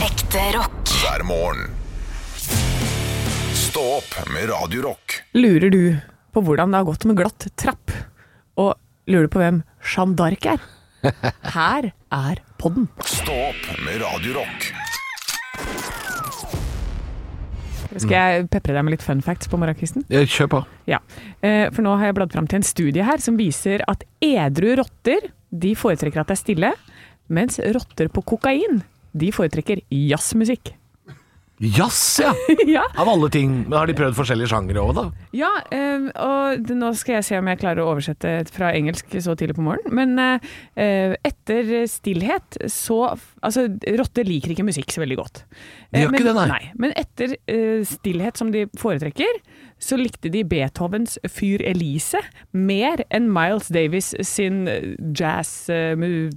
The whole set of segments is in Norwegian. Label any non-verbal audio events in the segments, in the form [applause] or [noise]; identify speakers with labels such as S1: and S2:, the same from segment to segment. S1: Ekte rock.
S2: hver morgen. Stå opp med Radio Rock.
S3: lurer du på hvordan det har gått med glatt trapp, og lurer på hvem Jeanne d'Arc er. Her er podden.
S2: Stå opp med Radio Rock
S3: Skal jeg pepre deg med litt fun facts på morgenkvisten?
S4: Jeg kjøper.
S3: Ja. Eh, For nå har jeg bladd fram til en studie her som viser at edru rotter de foretrekker at det er stille, mens rotter på kokain de foretrekker jazzmusikk. [laughs]
S4: Jazz, ja!
S3: ja.
S4: Av alle ting. Men har de prøvd forskjellige sjangere òg, da?
S3: Ja, eh, og d- nå skal jeg se om jeg klarer å oversette fra engelsk så tidlig på morgenen. Men eh, eh, etter stillhet så f- Altså, rotter liker ikke musikk så veldig godt. Eh,
S4: De gjør
S3: men,
S4: ikke det, nei.
S3: Men etter eh, stillhet, som de foretrekker, så likte de Beethovens Fyr Elise mer enn Miles Davis sin eh, jazz-melodi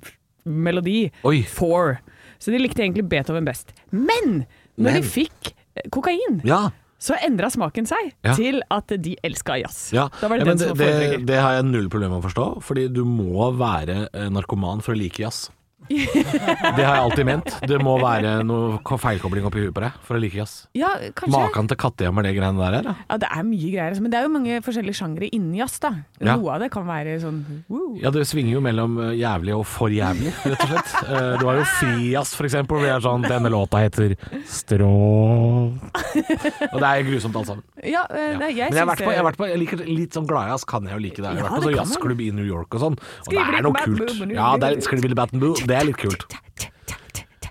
S4: Oi.
S3: Four. Så de likte egentlig Beethoven best. Men når
S4: Men.
S3: de fikk eh, kokain
S4: Ja.
S3: så endra smaken seg
S4: Ja.
S3: til at de elska jazz.
S4: ja.
S3: Da var det
S4: Ja, men
S3: den som var
S4: det,
S3: foretrekker.
S4: det har jeg null problem med å forstå, fordi du må være eh, narkoman for å like
S3: [laughs]
S4: jazz. Det har jeg alltid ment. Det må være noe ko- feilkobling oppi huet på deg for å like jazz.
S3: Ja, kanskje.
S4: Makan til kattehjemmer, det greiene der er, da.
S3: Ja, det er mye greier. altså. Men det er jo mange forskjellige sjangere innen jazz, da.
S4: Ja.
S3: Noe av det kan være sånn woo.
S4: Ja, det svinger jo mellom eh, jævlig og for jævlig, rett og slett. Eh, Du har jo frijazz, for eksempel, hvor det er sånn Denne låta heter Strål. Og det er grusomt, alt sammen.
S3: Ja, eh, nei, jeg
S4: Men jeg, har
S3: syns
S4: vært på, jeg, har vært på, jeg liker litt sånn gladjazz, kan jeg jo like det. Jeg har
S3: Ja, det
S4: vært på sånn
S3: kan man.
S4: jazzklubb i New York og sånn, og det
S3: Skriver
S4: er
S3: litt
S4: noe
S3: Bat
S4: kult.
S3: Boom,
S4: Ja, det er
S3: Boom.
S4: skrivelig Batten Boo, det er litt
S3: [laughs]
S4: kult.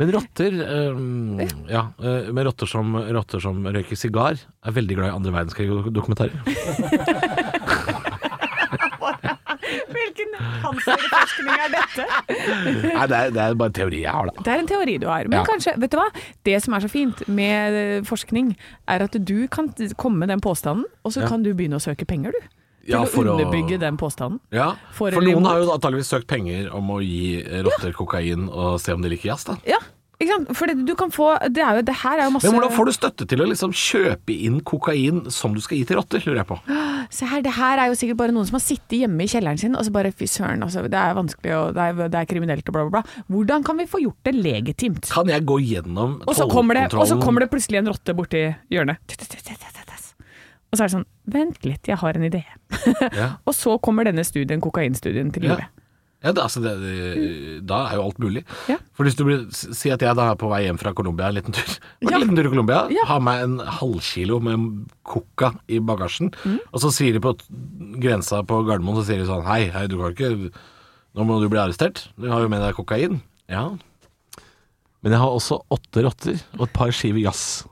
S4: Men rotter øhm, Ja, øh, men rotter som, rotter som røyker sigar, er veldig glad i
S3: [laughs]
S4: andre verdenskrig-dokumentarer.
S3: Hvilken hamsterforskning er dette?
S4: Nei, det er, det er bare en teori jeg har, da.
S3: Det er en teori du har. Men
S4: Ja.
S3: kanskje, vet du hva? Det som er så fint med eh, forskning, er at du kan t- komme med den påstanden, og så
S4: Ja.
S3: kan du begynne å søke penger, du. Til
S4: Ja,
S3: å
S4: for å-
S3: underbygge den påstanden.
S4: Ja,
S3: For
S4: for
S3: eller
S4: noen
S3: imot?
S4: har jo antageligvis søkt penger om å gi eh, rotter kokain og se om de liker jazz, da.
S3: Ja, ikke sant? For det, du kan få Det, er jo, det her er jo masse
S4: Men hvordan får du støtte til å liksom kjøpe inn kokain som du skal gi til rotter, lurer jeg på.
S3: Se her, det her er jo sikkert bare noen som har sittet hjemme i kjelleren sin og så bare fy søren, altså, det er vanskelig og det er, det er kriminelt og bla, bla, bla. Hvordan kan vi få gjort det legitimt?
S4: Kan jeg gå gjennom
S3: Og så kommer det, og så
S4: tollkontrollen?
S3: kommer det plutselig en rotte borti hjørnet. Og så er det sånn Vent litt, jeg har en idé. [laughs]
S4: Ja.
S3: og så kommer denne studien, kokainstudien, til
S4: Ja.
S3: live.
S4: Ja, det, altså det, det, da er jo alt mulig.
S3: Ja.
S4: For hvis du blir, si at jeg da er på vei hjem fra Colombia en liten tur. [laughs] Vært
S3: Ja.
S4: en liten tur i Colombia,
S3: Ja.
S4: har med en halvkilo med coca i bagasjen,
S3: Mm.
S4: og så sier de på t- grensa på Gardermoen, så sier de sånn Hei, hei, du kan ikke Nå må du bli arrestert. Du har jo med deg kokain. Ja. Men jeg har også åtte rotter og et par skiver
S3: [laughs]
S4: jazz.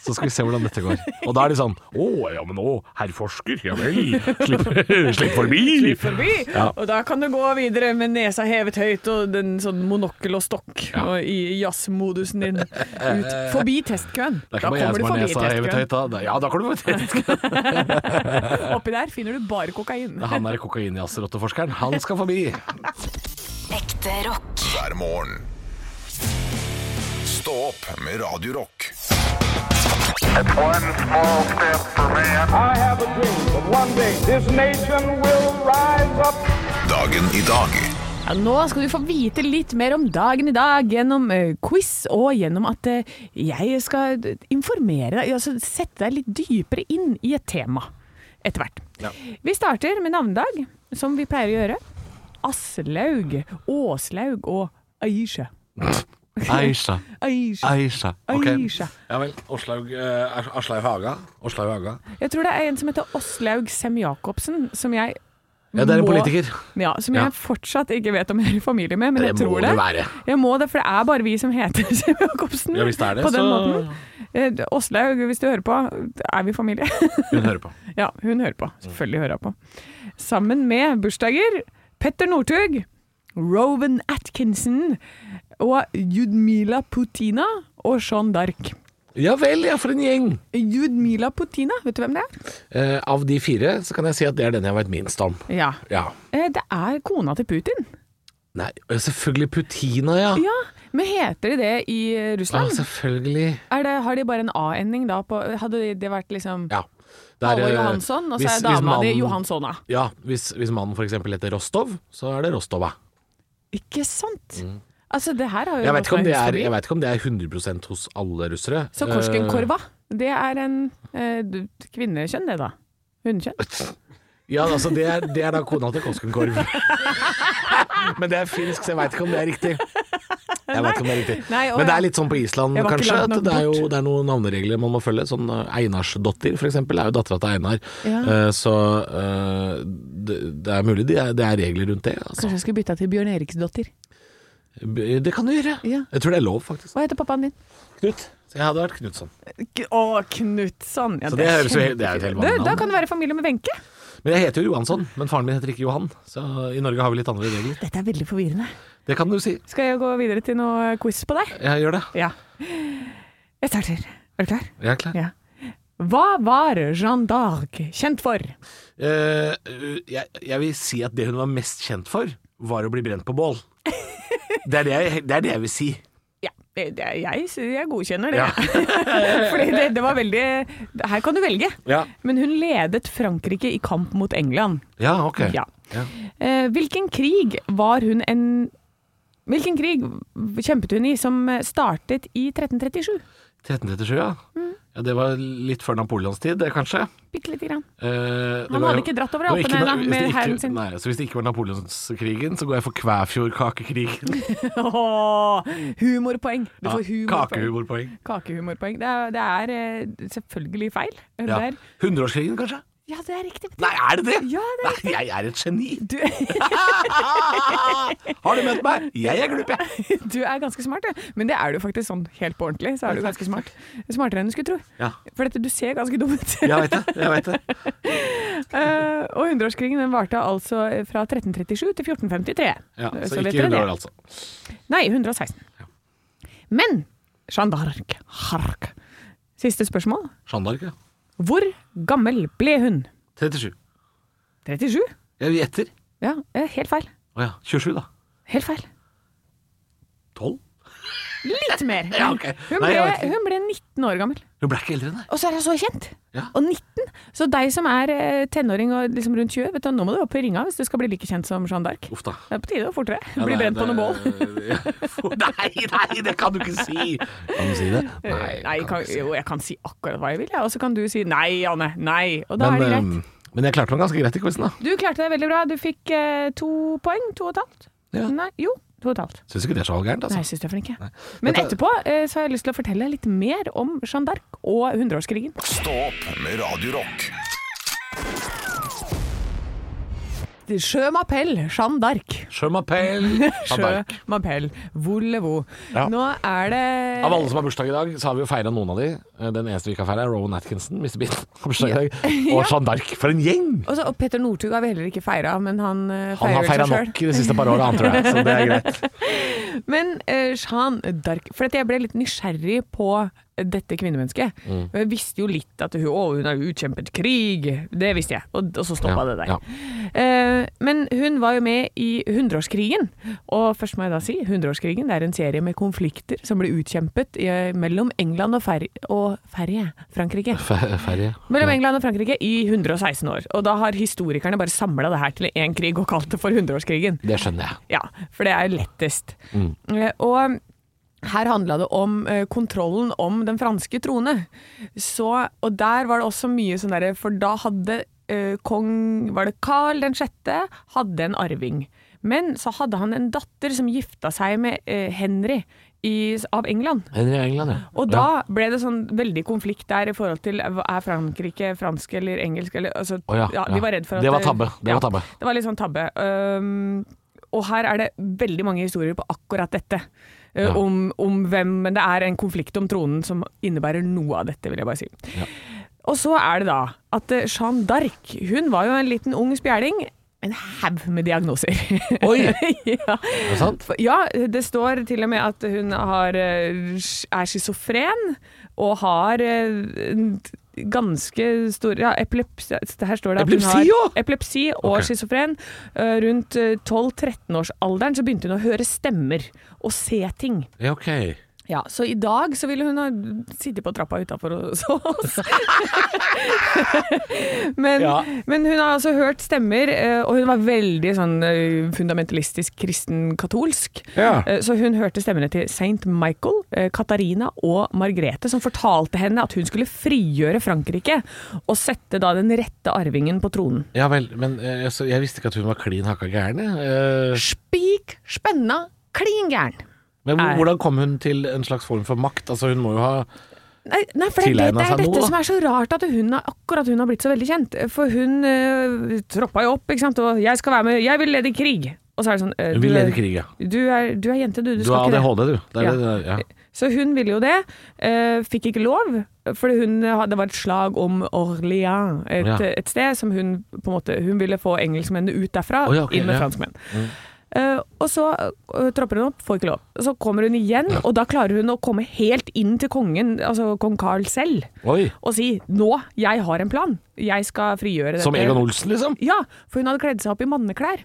S4: Så skal vi se hvordan dette går. Og da er de sånn Å, ja, men å, herr forsker, ja vel. Slipp, [laughs] slipp forbi.
S3: Slipp forbi! Og da kan du gå videre med nesa hevet høyt og den sånn monokkel og stokk og i jazzmodusen din. Ut. Forbi testkøen. Da
S4: Det er ikke bare jeg
S3: kommer du
S4: som har
S3: forbi
S4: nesa hevet
S3: testkøen.
S4: høyt, da. Det- Ja, da kommer du på
S3: Oppi der finner du bare kokain.
S4: Han er kokainjazzrotteforskeren. Han skal forbi.
S1: Ekte rock.
S2: hver morgen. Stå opp med Radio Rock.
S5: One small step for man.
S6: I have a dream that one day this nation will rise up.
S2: Dagen i dag
S3: Ja, nå skal du få vite litt mer om dagen i dag gjennom eh, quiz, og gjennom at eh, jeg skal eh, informere deg, altså sette deg litt dypere inn i et tema etter hvert. Vi starter med navnedag, som vi pleier å gjøre. Aslaug, Åslaug og Aisha.
S4: Aisha.
S3: Aisha.
S4: Aisha.
S3: Aisha.
S4: Ja vel. Åslaug eh, Aslaug Haga. Åslaug Haga.
S3: Jeg tror det er en som heter Åslaug Sem-Jacobsen, som jeg
S4: Ja, det er en
S3: må-
S4: politiker.
S3: Ja, som
S4: Ja.
S3: jeg fortsatt ikke vet om jeg er i familie med, men
S4: Det
S3: jeg
S4: må
S3: tror
S4: det
S3: det.
S4: være.
S3: Jeg må det, for det er bare vi som heter [laughs] Sem Jacobsen.
S4: Ja, hvis det er det,
S3: på den
S4: så-
S3: måten. Eh, Åslaug, hvis du hører på, er vi familie? [laughs]
S4: Hun hører på.
S3: ja, hun hører på. Selvfølgelig hører hun på. Sammen med bursdager Petter Northug, Rowan Atkinson og Judmila Putina og Sean Dark.
S4: Ja vel, ja, for en gjeng.
S3: Judmila Putina, vet du hvem det er?
S4: Eh, av de fire så kan jeg si at det er den jeg vet minst om.
S3: Ja.
S4: Ja.
S3: Eh, Det er kona til Putin.
S4: Nei, og selvfølgelig Putina, ja.
S3: Ja, men heter de det i eh,
S4: Ja,
S3: Russland?
S4: selvfølgelig.
S3: Er det, har de bare en A-ending da? På, hadde det vært liksom
S4: Ja. Det
S3: Halvor
S4: eh,
S3: Johansson, og så
S4: hvis-
S3: er
S4: hvis
S3: dama di
S4: mannen-
S3: Johanssona.
S4: Ja, hvis, hvis mannen f.eks. heter Rostov, så er det Rostova.
S3: Ikke sant? Altså, det her har jo
S4: Mm. Jeg vet,
S3: gått
S4: ikke om
S3: meg
S4: det
S3: hus
S4: er,
S3: forbi.
S4: jeg vet Eh. ikke om det er 100 hos alle russere.
S3: Så korskenkorva, det er en eh, du- kvinnekjønn, det da? Hundekjønn?
S4: Eh, Ja, altså det er, det er da kona til
S3: [laughs]
S4: Korskenkorv. Men det er finsk, så jeg veit ikke om det er riktig. Jeg vet ikke om det er riktig.
S3: Nei, å
S4: Men det
S3: ja.
S4: er litt sånn på Island,
S3: Jeg var ikke
S4: kanskje.
S3: langt
S4: At
S3: nok
S4: det, er jo,
S3: bort.
S4: det er noen navneregler man må følge. Sånn eh, Einarsdotter, for eksempel, er jo dattera til Einar.
S3: Ja.
S4: Eh, Så eh, det, det er mulig det er, det er regler rundt det. Altså.
S3: Kanskje jeg skulle bytta til Bjørn Eriksdotter.
S4: Det kan du gjøre.
S3: Ja.
S4: Jeg tror det er lov, faktisk.
S3: Hva heter pappaen din?
S4: Knut. Så jeg hadde vært Knutson.
S3: K- Å, Knutson. Ja,
S4: Så det høres jo helt- det er jo et helt vanlig
S3: Du, Da
S4: navn.
S3: kan du være familie med Wenche.
S4: Men jeg heter jo Johansson, men faren min heter ikke Johan. Så i Norge har vi litt andre regler.
S3: Dette er veldig forvirrende.
S4: Det kan du si.
S3: Skal jeg gå videre til noe quiz på deg?
S4: Jeg gjør det.
S3: Ja. Jeg starter. Er du klar?
S4: Jeg er klar.
S3: Ja. Hva var Jeanne d'Arc kjent for?
S4: Eh, jeg, jeg vil si at det hun var mest kjent for, var å bli brent på bål. Det er det jeg, det er det jeg vil si.
S3: Ja, det- det er- jeg, jeg godkjenner det.
S4: Ja.
S3: [laughs] Fordi det, det var veldig Her kan du velge.
S4: Ja.
S3: Men hun ledet Frankrike i kamp mot England.
S4: Ja, ok.
S3: Ja.
S4: Ja.
S3: Eh, hvilken krig var hun en Hvilken krig kjempet hun i som startet i 1337?
S4: 1337, ja.
S3: Mm.
S4: ja. Det var litt før Napoleons tid, det, kanskje.
S3: Bitte lite grann.
S4: Eh, det
S3: Han
S4: var
S3: hadde
S4: jo-
S3: ikke dratt over
S4: det var
S3: Alpene,
S4: ikke-
S3: da,
S4: hvis det
S3: med
S4: ikke-
S3: hæren sin.
S4: Nei, så hvis det ikke var Napoleonskrigen, så går jeg for Kvæfjordkakekrigen.
S3: Åh, [laughs] humorpoeng! [laughs] Du
S4: Ja,
S3: får humorpoeng.
S4: Kakehumorpoeng.
S3: Kakehumorpoeng. Det er, det er eh, selvfølgelig feil.
S4: Ja.
S3: Der.
S4: Hundreårskrigen, kanskje?
S3: ja, det er riktig.
S4: Nei, er det det?
S3: Ja, det er
S4: Nei, jeg er et geni.
S3: [laughs]
S4: [laughs]
S3: Du, [laughs]
S4: Har du møtt meg? Jeg er glup, jeg.
S3: du er ganske smart, du. Men det er du faktisk sånn helt på ordentlig. Så er du ganske smart. Smartere enn du skulle tro.
S4: Ja.
S3: For dette, du ser ganske dum ut.
S4: Jeg veit det. Jeg vet det.
S3: Eh, [laughs] og hundreårskrigen den varte altså fra 1337 til 1453.
S4: Ja, så
S3: vet
S4: ikke
S3: dere det.
S4: 100 år, altså.
S3: Nei, 116. Men Jeanne d'Arc Hark. Siste spørsmål.
S4: Jeanne d'Arc, ja.
S3: Hvor gammel ble hun?
S4: 37.
S3: 37?
S4: Jeg gjetter.
S3: Ja, eh, helt feil.
S4: Å ja. 27, da.
S3: Helt feil.
S4: 12?
S3: Litt mer.
S4: Ja, ok.
S3: hun, ble,
S4: Nei, jeg vet ikke.
S3: hun ble 19 år gammel.
S4: Hun ble ikke eldre, nei.
S3: Og så er hun så kjent!
S4: Ja.
S3: Og 19! Så deg som er eh, tenåring og liksom rundt 20, vet du, nå må du opp i ringa hvis du skal bli like kjent som Jeanne d'Arc.
S4: Uff da.
S3: Det er på tide å fortere. Bli brent på noe
S4: [laughs]
S3: bål.
S4: bål. Nei, nei, det kan du ikke si! Kan du si det?
S3: [laughs]
S4: Nei.
S3: Eh, Nei, jeg kan, jo, jeg kan si akkurat hva jeg vil, jeg. Og så kan du si nei, Anne. Nei. Og da
S4: Men,
S3: er det greit.
S4: ehm, men jeg klarte meg ganske greit i quizen, da.
S3: Du klarte deg veldig bra. Du fikk eh, to poeng. To og et halvt.
S4: Ja.
S3: Nei, jo, to og et halvt.
S4: Syns ikke det er så gærent,
S3: Nei,
S4: altså.
S3: jeg syns du er flink, jeg. Men
S4: Dette-
S3: etterpå eh, så har jeg lyst til å fortelle litt mer om Jeanne d'Arc og hundreårskrigen.
S2: Stå opp med Radio Rock.
S3: Sjø Mapell, Jeanne d'Arc.
S4: Sjø
S3: [laughs]
S4: Mapel.
S3: Sjø Mapell, volevo.
S4: Ja.
S3: Nå er det
S4: Av alle som har bursdag i dag, så har vi jo feira noen av de. Eh, Den eneste vi ikke har feira, er Rowan Atkinson, Mr. Bean, har bursdag i dag.
S3: [laughs]
S4: Og Jeanne d'Arc. For en gjeng!
S3: Og så- og Petter Northug har vi heller ikke feira, men han eh,
S4: Han
S3: feirer
S4: har
S3: vel
S4: feira
S3: seg sjøl.
S4: nok i de siste par åra, han tror jeg. Så det er greit.
S3: Men eh, Jeanne d'Arc For at jeg ble litt nysgjerrig på eh, dette kvinnemennesket.
S4: Mm.
S3: Og Jeg visste jo litt at hun, å, hun har utkjempet krig. Det visste jeg. Og, og så stoppa
S4: Ja,
S3: det der.
S4: ja.
S3: Eh, men hun var jo med i hundreårskrigen. Og først må jeg da si hundreårskrigen det er en serie med konflikter som ble utkjempet i, mellom England og, Fer og Ferje, Frankrike.
S4: Fe- Ferie.
S3: Mellom England og Frankrike i 116 år. Og da har historikerne bare samla det her til én krig og kalt det for hundreårskrigen.
S4: Det skjønner jeg.
S3: Ja, for det er jo lettest. Eh, Og her handla det om eh, kontrollen om den franske trone. Så, og der var det også mye sånn derre For da hadde eh, kong Var det Karl den sjette? Hadde en arving. Men så hadde han en datter som gifta seg med eh, Henry i, av England.
S4: Henry av England, ja.
S3: Og da ble det sånn veldig konflikt der i forhold til er Frankrike fransk eller engelsk eller altså,
S4: Å ja,
S3: ja,
S4: ja.
S3: De var redd for at
S4: Det var tabbe, det
S3: ja,
S4: var tabbe.
S3: Det var litt sånn tabbe. Um, og her er det veldig mange historier på akkurat dette. Uh,
S4: Ja.
S3: om, om hvem Men det er en konflikt om tronen som innebærer noe av dette, vil jeg bare si. Og så er det da at eh, Jeanne d'Arc Hun var jo en liten ung spjæling. En haug med diagnoser.
S4: Oi!
S3: [laughs] ja.
S4: Er det sant?
S3: For- Ja, det står til og med at hun har, eh, sch- er schizofren og har eh, en ganske stor ja, epilepsi, Her står det at hun
S4: Epilepsi
S3: har
S4: også?
S3: epilepsi og
S4: Ok.
S3: schizofren. Eh, Rundt 12-13-årsalderen så begynte hun å høre stemmer og se ting.
S4: Ja, ok.
S3: Ja, Så i dag så ville hun ha sittet på trappa utafor hos oss. [laughs] men,
S4: Ja.
S3: men hun har altså hørt stemmer, eh, og hun var veldig sånn eh, fundamentalistisk kristen-katolsk.
S4: Ja.
S3: Eh, Så hun hørte stemmene til St. Michael, eh, Katarina og Margrethe, som fortalte henne at hun skulle frigjøre Frankrike og sette da den rette arvingen på tronen.
S4: Ja vel, men eh, altså, jeg visste ikke at hun var klin hakka gæren. jeg. Eh,
S3: Spik spenna klin gæren!
S4: men hvor-
S3: Nei.
S4: hvordan kom hun til en slags form for makt? Altså, hun må jo ha
S3: Nei, nei, for det, er det,
S4: Tilegnet
S3: det
S4: seg
S3: er
S4: noe,
S3: dette
S4: da.
S3: som er så rart at hun har, akkurat hun har blitt så veldig kjent. For hun øh, troppa jo opp, ikke sant. Og 'jeg skal være med, jeg vil lede krig'. Og så er det sånn øh,
S4: Hun vil
S3: du er-
S4: lede krig, ja.
S3: Du er, du er jente, du. Du,
S4: Du har
S3: skal ikke
S4: ADHD, du. Det er
S3: Ja.
S4: det, det, er- ja.
S3: det. Så hun ville jo det. øh, fikk ikke lov. For hun, øh, det var et slag om Orléans, et,
S4: Ja.
S3: et sted som hun på en måte Hun ville få engelskmennene ut derfra,
S4: Å ja, ok,
S3: inn med
S4: ja. Mm.
S3: franskmenn. Eh, og så eh, tropper hun opp, får ikke lov. Så kommer hun igjen, og da klarer hun å komme helt inn til kongen, altså kong Carl selv,
S4: Oi.
S3: og si 'nå, jeg har en plan, jeg skal frigjøre dette'.
S4: Som Egon Olsen, liksom?
S3: Ja, for hun hadde kledd seg opp i manneklær.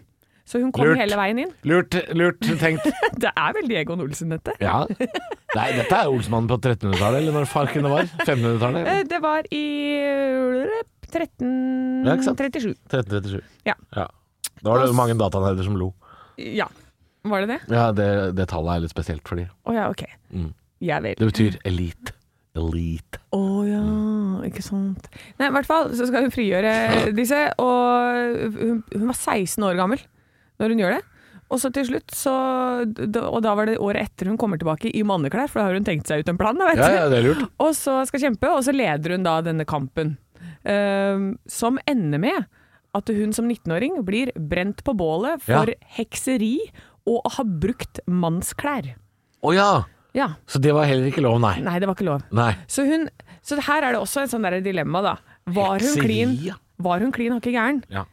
S3: Så hun kom
S4: Lurt.
S3: hele veien inn. [laughs]
S4: Lurt, lurt tenkt.
S3: Det er veldig Egon Olsen, dette.
S4: [laughs] Ja. Nei, dette er Olsmannen på 1300-tallet, eller når farken det var. 1500-tallet?
S3: Eh, Det var i eh,
S4: Ja, ikke sant?
S3: 1337.
S4: 1337.
S3: Ja.
S4: ja. Da var det jo mange datanerder som lo.
S3: Ja. Var det det?
S4: Ja, det, det tallet er litt spesielt for de.
S3: Å ja, ok.
S4: Mm.
S3: Jeg vel.
S4: Det betyr elite.
S3: [laughs]
S4: Elite.
S3: Å ja, ikke sant. Nei, i hvert fall så skal hun frigjøre disse, og hun, hun var 16 år gammel når hun gjør det. Og så til slutt, så Og da var det året etter hun kommer tilbake i manneklær, for da har hun tenkt seg ut en plan, da, vet du.
S4: Ja, ja, det er lurt.
S3: Og så skal kjempe, og så leder hun da denne kampen. ehm, som ender med at hun som 19-åring blir brent på bålet for
S4: Ja.
S3: hekseri og å ha brukt mannsklær.
S4: Å ja!
S3: Ja.
S4: Så det var heller ikke lov, nei.
S3: Nei, det var ikke lov.
S4: Nei.
S3: Så, hun, så her er det også et sånt der dilemma, da. Var hun
S4: Hekseri,
S3: klin,
S4: ja.
S3: var hun klin hakke gæren?
S4: Ja.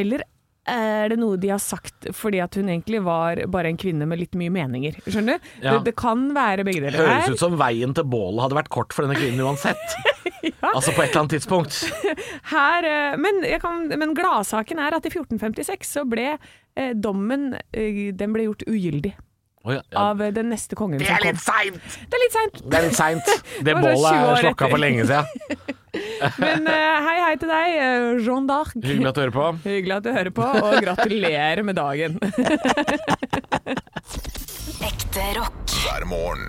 S3: Eller er det noe de har sagt fordi at hun egentlig var bare en kvinne med litt mye meninger? Skjønner du?
S4: Ja.
S3: Det, det kan være begge deler her.
S4: Høres ut som veien til bålet hadde vært kort for denne
S3: [laughs]
S4: kvinnen uansett. Altså på et eller annet tidspunkt.
S3: Her, eh, men, jeg kan, men gladsaken er at i 1456 så ble eh, dommen eh, den ble gjort ugyldig
S4: Å ja, ja.
S3: av eh, den neste kongen. som kom.
S4: seint!
S3: Det er litt seint,
S4: Det er litt
S3: [laughs]
S4: seint. Det
S3: var sånn 20
S4: bålet
S3: år
S4: er slokka
S3: etter.
S4: for lenge siden.
S3: men eh, hei hei til deg, eh, Jeanne d'Arc.
S4: Hyggelig at du hører på.
S3: Hyggelig at du hører på, og gratulerer med dagen.
S1: Ekte rock.
S2: hver morgen.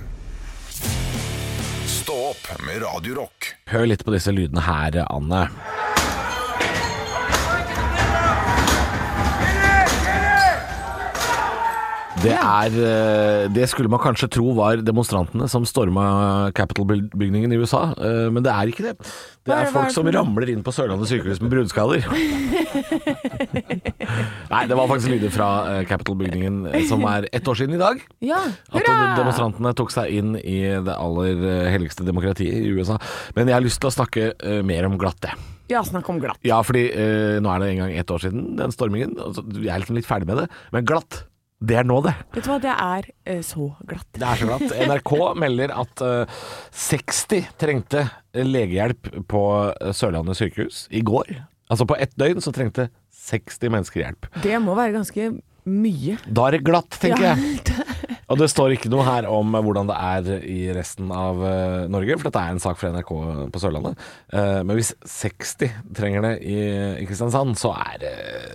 S2: Stå opp med Radio Rock.
S4: Hør litt på disse lydene her, Anne. Det er eh, Det skulle man kanskje tro var demonstrantene som storma Capitol-bygningen i USA, eh, men det er ikke det. Det
S3: Hva er-
S4: er
S3: hva er
S4: folk
S3: det
S4: som
S3: for noe?
S4: ramler inn på Sørlandet sykehus med brudskader. Nei, det var faktisk lyder fra eh, Capitol-bygningen eh, som er ett år siden i dag.
S3: Ja,
S4: At demonstrantene tok seg inn i det aller eh, helligste demokratiet i USA. Men jeg har lyst til å snakke eh, mer om glatt, det.
S3: Ja, snakk om glatt.
S4: Ja, fordi eh, nå er det en gang ett år siden den stormingen. og så- Jeg er liksom litt ferdig med det. Men glatt, det er nå, det.
S3: Vet du hva, det er eh, så glatt.
S4: Det er så glatt. [laughs] NRK melder at eh, 60 trengte eh, legehjelp på eh, Sørlandet sykehus i går. Altså på ett døgn så trengte 60 mennesker hjelp.
S3: Det må være ganske mye.
S4: Da er det glatt, tenker
S3: Ja. [laughs]
S4: jeg. Og det står ikke noe her om hvordan det er i resten av eh, Norge, for dette er en sak fra NRK på Sørlandet. Eh, men hvis 60 trenger det i, i Kristiansand, så er det,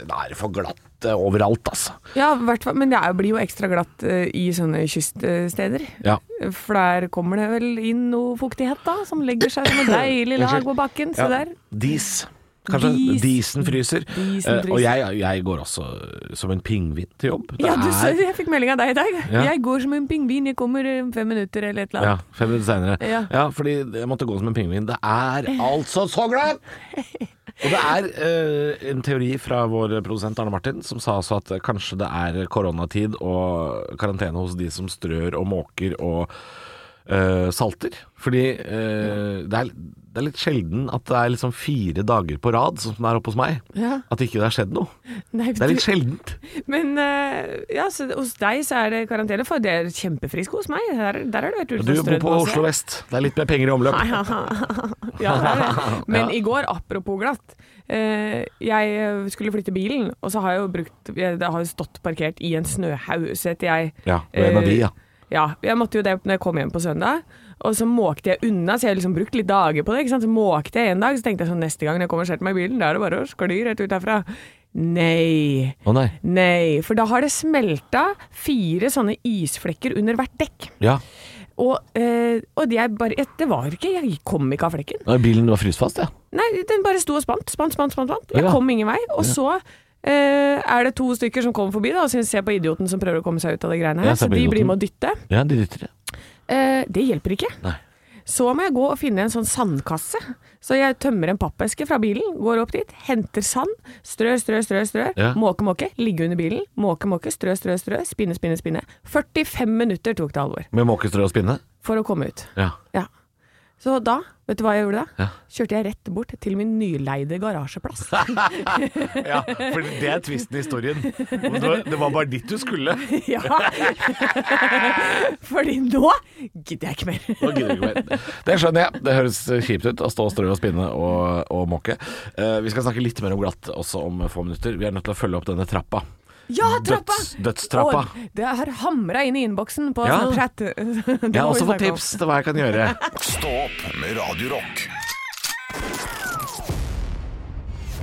S4: da er det for glatt eh, overalt, altså.
S3: Ja, hvert fall, men det er, blir jo ekstra glatt eh, i sånne kyststeder.
S4: Ja.
S3: For der kommer det vel inn noe fuktighet da, som legger seg som et
S4: [laughs]
S3: deilig lag på bakken. Se der.
S4: Dis. Kanskje
S3: Dis.
S4: disen fryser.
S3: Disen
S4: Eh, og
S3: fryser.
S4: jeg, jeg går også som en pingvin til jobb. Det
S3: Ja, du så,
S4: er-
S3: jeg fikk melding av deg i dag.
S4: Ja.
S3: Jeg går som en pingvin, jeg kommer om fem minutter eller et eller
S4: Ja,
S3: annet.
S4: fem minutter seinere.
S3: Ja.
S4: Ja. fordi jeg måtte gå som en pingvin. Det er altså så [laughs] glatt! Og det er eh, en teori fra vår produsent Arne Martin, som sa altså at kanskje det er koronatid og karantene hos de som strør og måker og eh, salter. Fordi eh, det, er, det er litt sjelden at det er liksom fire dager på rad, sånn som det er oppe hos meg,
S3: Ja.
S4: at ikke det har skjedd noe.
S3: Nei,
S4: Det er litt
S3: du-
S4: sjeldent.
S3: Men eh, ja, så hos deg så er det karantene, for det er kjempefrisk hos meg. Der, der har det vært
S4: Du bor
S3: ulvestrødd
S4: på Oslo vest. Det er litt mer penger i omløp.
S3: [laughs] Ja, det er
S4: [laughs]
S3: det. Men
S4: Ja.
S3: i går, apropos glatt. eh, jeg skulle flytte bilen, og så har jeg jo brukt jeg, Det har jo stått parkert i en snøhaug, så heter jeg
S4: Ja, og en av de, ja.
S3: Ja, jeg måtte jo det når jeg kom hjem på søndag. Og så måkte jeg unna, så jeg har liksom brukt litt dager på det. ikke sant? Så måkte jeg en dag, så tenkte jeg sånn neste gang når jeg kommer og setter meg i bilen, da er det bare å skli rett ut herfra. Nei.
S4: Å nei.
S3: Nei, for da har det smelta fire sånne isflekker under hvert dekk.
S4: Ja.
S3: Og, eh, og jeg bare jeg, Det var ikke Jeg kom ikke av flekken.
S4: Nei, Bilen var frysfast, ja.
S3: Nei, den bare sto og spant. Spant, spant, spant. spant. Jeg
S4: Ja.
S3: kom ingen vei. Og så eh, er det to stykker som kommer forbi da, og syns se på idioten som prøver å komme seg ut av de greiene her.
S4: Ja, se
S3: så
S4: på
S3: de blir
S4: idioten.
S3: med å dytte.
S4: Ja, de dytter det.
S3: Eh, det hjelper ikke.
S4: Nei.
S3: Så må jeg gå og finne en sånn sandkasse. Så jeg tømmer en pappeske fra bilen, går opp dit, henter sand. Strø, strø, strø, strø.
S4: Ja.
S3: Måke, måke. Ligge under bilen. Måke, måke. Strø, strø, strø. Spinne, spinne, spinne. 45 minutter tok det alvor
S4: Med måkestrø og spinne?
S3: for å komme ut.
S4: Ja.
S3: Ja. Så da, vet du hva jeg gjorde da?
S4: Ja.
S3: Kjørte jeg rett bort til min nyleide
S4: [laughs]
S3: garasjeplass.
S4: ja for det er tvisten i historien. Det var bare dit du skulle.
S3: ja. [laughs] Fordi nå gidder jeg ikke mer.
S4: Det skjønner jeg. Det høres kjipt ut å stå og strø og spinne og, og måke. Eh, vi skal snakke litt mer om glatt også om få minutter. Vi er nødt til å følge opp denne trappa.
S3: Ja, trappa!
S4: Døds- dødstrappa.
S3: Og det har hamra inn i innboksen på
S4: Ja.
S3: Snapchat. [laughs] Det må
S4: Jeg har
S3: vi
S4: også fått
S3: snakke om.
S4: tips til hva jeg kan gjøre.
S2: Stå opp med Radio Rock.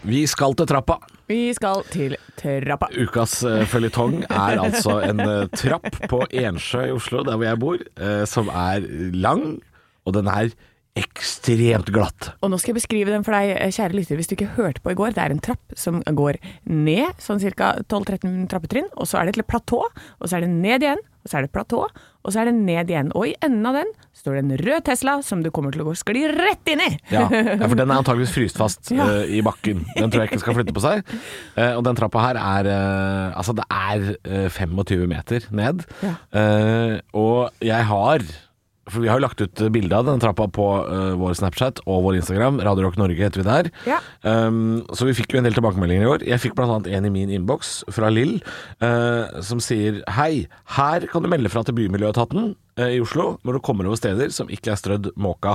S4: Vi skal til trappa.
S3: Vi skal til trappa.
S4: Ukas uh, føljetong er altså en eh, trapp på Ensjø i Oslo, der hvor jeg bor, eh, som er lang, og den er ekstremt glatt.
S3: Og nå skal jeg beskrive den for deg, eh, kjære lytter, hvis du ikke hørte på i går. Det er en trapp som går ned, sånn ca. 12-13 trappetrinn, og så er det et platå, og så er det ned igjen, og så er det et platå, og så er det ned igjen. Og i enden av den står det en rød Tesla som du kommer til å gå skli rett inn i!
S4: Ja, ja, for den er antageligvis fryst fast
S3: Ja.
S4: eh, i bakken. Den tror jeg ikke skal flytte på seg. Eh, og den trappa her er eh, Altså, det er eh, 25 meter ned. Eh, og jeg har For vi har jo lagt ut bilde av den trappa på eh, vår Snapchat og vår Instagram. Radio Rock Norge heter vi der.
S3: Ja.
S4: Um, så vi fikk jo en del tilbakemeldinger i år. Jeg fikk bl.a. en i min innboks fra Lill, eh, som sier Hei, her kan du melde fra til Bymiljøetaten eh, i Oslo når du kommer over steder som ikke er strødd måka,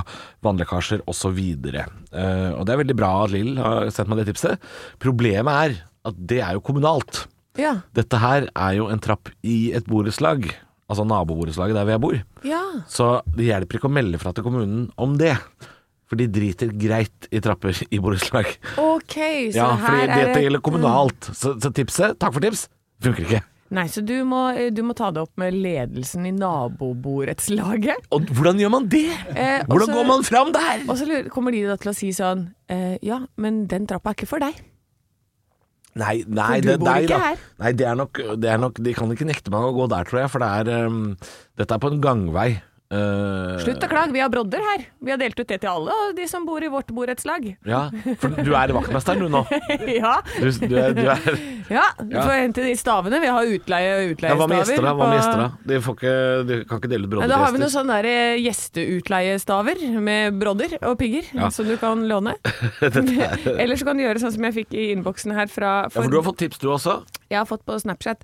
S4: vannlekkasjer osv. Uh, og det er veldig bra at Lill har sendt meg det tipset. Problemet er at det er jo kommunalt.
S3: Ja.
S4: Dette her er jo en trapp i et borettslag, altså naboborettslaget der hvor jeg bor.
S3: ja.
S4: Så det hjelper ikke å melde fra til kommunen om det. For de driter greit i trapper i borettslag.
S3: Ok, så
S4: Ja,
S3: her
S4: fordi
S3: er Mm.
S4: dette gjelder kommunalt. Så, så tipset, takk for tips, funker ikke.
S3: Nei, så du må, du må ta det opp med ledelsen i naboborettslaget.
S4: Og hvordan gjør man det?
S3: Eh, og
S4: hvordan
S3: så-
S4: går man fram der?
S3: Og så lurer- kommer de da til å si sånn eh, Ja, men den trappa er ikke for deg.
S4: Nei, nei,
S3: For du
S4: det,
S3: bor
S4: nei,
S3: ikke
S4: da.
S3: her.
S4: nei det, er nok, det er nok De kan ikke nekte meg å gå der, tror jeg, for det er um, Dette er på en gangvei. Eh,
S3: Slutt å klage, vi har brodder her. Vi har delt ut det til alle og de som bor i vårt borettslag. [laughs]
S4: Ja, for du er vaktmesteren, du nå.
S3: ja.
S4: Du, du er, du er
S3: ja, du får hente de stavene. Vi har utleie
S4: ja, Hva
S3: utleiestaver.
S4: med gjester, da? Hva med
S3: på-
S4: gjester, da? De, får ikke, de kan ikke dele ut
S3: Nei,
S4: brodder
S3: Da har vi
S4: til
S3: noen
S4: gjester.
S3: sånne der, eh, gjesteutleiestaver med brodder og pigger
S4: Ja.
S3: som du kan
S4: [laughs]
S3: låne. [laughs] Eller så kan du gjøre sånn som jeg fikk i innboksen her fra
S4: Ja, for du har fått tips, du også?
S3: jeg har fått på Snapchat.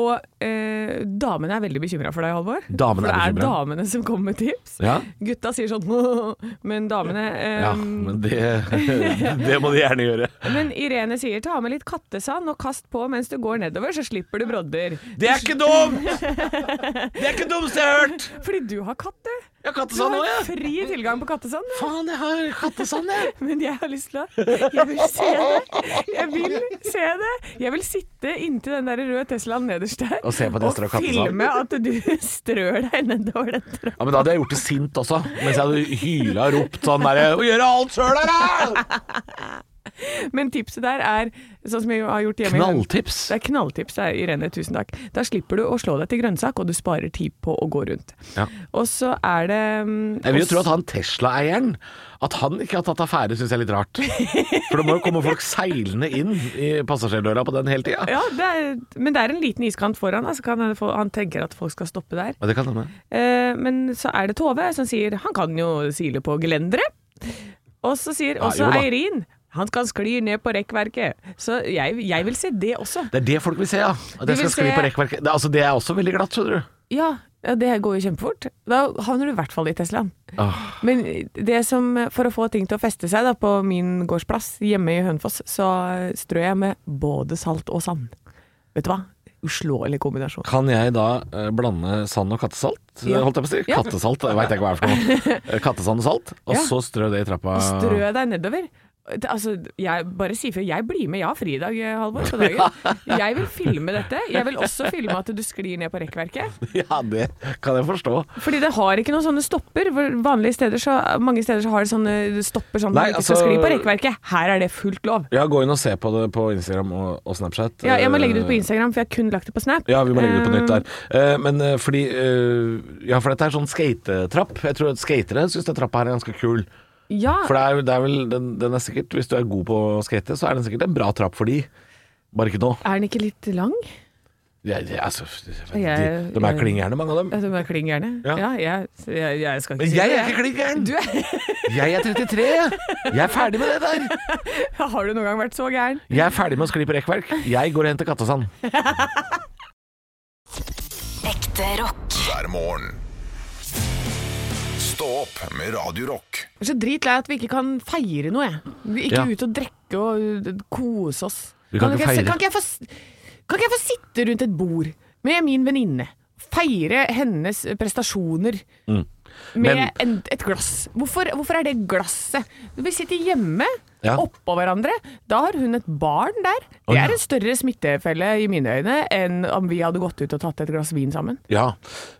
S3: Og eh, damene er veldig bekymra for deg, Halvor. for
S4: Damene
S3: det
S4: er
S3: er
S4: bekymret.
S3: damene som kommer med tips.
S4: Ja.
S3: Gutta sier sånn [laughs] «Åh», Men damene eh,
S4: Ja, men det, [laughs] det må de gjerne gjøre.
S3: Men Irene sier ta med litt kattesand og kast på mens du går nedover, så slipper du brodder.
S4: Det er ikke
S3: [laughs]
S4: dumt! Det er ikke dumt jeg har hørt!
S3: Fordi du har katt, du.
S4: Jeg har
S3: Du
S4: kattesand
S3: har
S4: òg, jeg.
S3: fri tilgang på kattesand. du.
S4: Faen, jeg har kattesand, jeg.
S3: Men jeg har lyst til å Jeg vil se det. Jeg vil se det. Jeg vil sitte inntil den der røde Teslaen nederst der
S4: Og se på Tesla og kattesand.
S3: filme at du [laughs] strør deg nedover den trappa.
S4: Ja, men da hadde jeg gjort det sint også. Mens jeg hadde hyla og ropt sånn derre Å gjøre alt sjøl her, da!
S3: Men tipset der er sånn som jeg har gjort hjemme. i Lund-
S4: Knalltips.
S3: Det er knalltips, det er Irene. Tusen takk. Da slipper du å slå deg til grønnsak, og du sparer tid på å gå rundt.
S4: Ja.
S3: Og så er det mm,
S4: Jeg vil jo
S3: også-
S4: tro at han Tesla-eieren At han ikke har tatt affære, syns jeg er litt rart. For det må jo komme folk seilende inn i passasjerdøra på den hele tida.
S3: ja, det er, men det er en liten iskant foran, da, så kan han, få, han tenker at folk skal stoppe der.
S4: Ja, det kan hende.
S3: Eh, men så er det Tove som sier han kan jo sile på gelenderet. Og så sier
S4: Ja,
S3: også
S4: jo da.
S3: Eirin han kan skli ned på rekkverket. Så jeg, jeg vil se det også.
S4: Det er det folk vil se, ja. At
S3: De
S4: jeg
S3: vil
S4: skal skli
S3: se-
S4: på rekkverket. Det, altså, det er også veldig glatt, skjønner du.
S3: Ja, ja, det går jo kjempefort. Da havner du i hvert fall i Teslaen. Men det som, for å få ting til å feste seg da, på min gårdsplass hjemme i Hønefoss, så strør jeg med både salt og sand. Vet du hva? uslåelig kombinasjon.
S4: Kan jeg da eh, blande sand og kattesalt? Eh,
S3: Ja.
S4: Holdt jeg på å si.
S3: Ja.
S4: Kattesalt, jeg veit ikke hva det er for noe. Eh, Kattesand og salt, og
S3: Ja.
S4: så strø det i trappa.
S3: Og strø
S4: Ah.
S3: deg nedover. Det- Altså, jeg bare si ifra. Jeg blir med, jeg har fridag, eh, Halvor, på
S4: [laughs]
S3: dagen. Jeg vil filme dette. Jeg vil også filme at du sklir ned på rekkverket.
S4: [laughs] Ja, det kan jeg forstå.
S3: Fordi det har ikke noen sånne stopper. Hvor vanlige steder så, mange steder så har det sånne stopper sånn at
S4: Nei,
S3: du ikke skal
S4: altså-
S3: skli på rekkverket. Her er det fullt lov.
S4: Ja, gå inn og se på det på Instagram og, og Snapchat.
S3: Ja, jeg må legge det ut på
S4: Eh,
S3: Instagram, for jeg har kun lagt det på Snap.
S4: Ja, vi må legge det ut på nytt
S3: Eh,
S4: der. Eh, Men eh, fordi eh, Ja, for dette er sånn skatetrapp. Jeg tror at skatere syns den trappa her er ganske kul.
S3: Eh, Ja,
S4: For det er, det er vel, den, den er sikkert Hvis du er god på å skate, så er den sikkert en bra trapp for de. Bare ikke nå.
S3: er den ikke litt lang?
S4: Jeg, jeg, altså, de,
S3: Jeg-
S4: de er
S3: jeg-
S4: klin gærne, mange av dem.
S3: Altså, bare kling gjerne.
S4: Ja.
S3: Ja, jeg, jeg, jeg skal ikke
S4: Men
S3: si
S4: jeg
S3: det,
S4: er ikke klin gæren!
S3: Du er, [laughs]
S4: Jeg er 33! jeg. Jeg er ferdig med det der!
S3: har du noen gang vært så gæren?
S4: Jeg er ferdig med å skli på rekkverk. Jeg går og henter kattesand.
S1: Ekte rock.
S2: hver morgen. Stå opp med Radio Rock.
S3: Jeg er så dritlei at vi ikke kan feire noe, jeg. Vi ikke
S4: Ja.
S3: ut og drikke og uh, kose oss.
S4: Vi kan ikke
S3: jeg-
S4: feire.
S3: Kan ikke, jeg få, s- kan ikke jeg få sitte rundt et bord med min venninne? Feire hennes prestasjoner med
S4: Mm. Men-
S3: en, et glass. Hvorfor, hvorfor er det glasset? Vi sitter hjemme
S4: Ja.
S3: oppå hverandre. Da har hun et barn der.
S4: Å,
S3: Det
S4: ja.
S3: er en større smittefelle i mine øyne enn om vi hadde gått ut og tatt et glass vin sammen.
S4: Ja.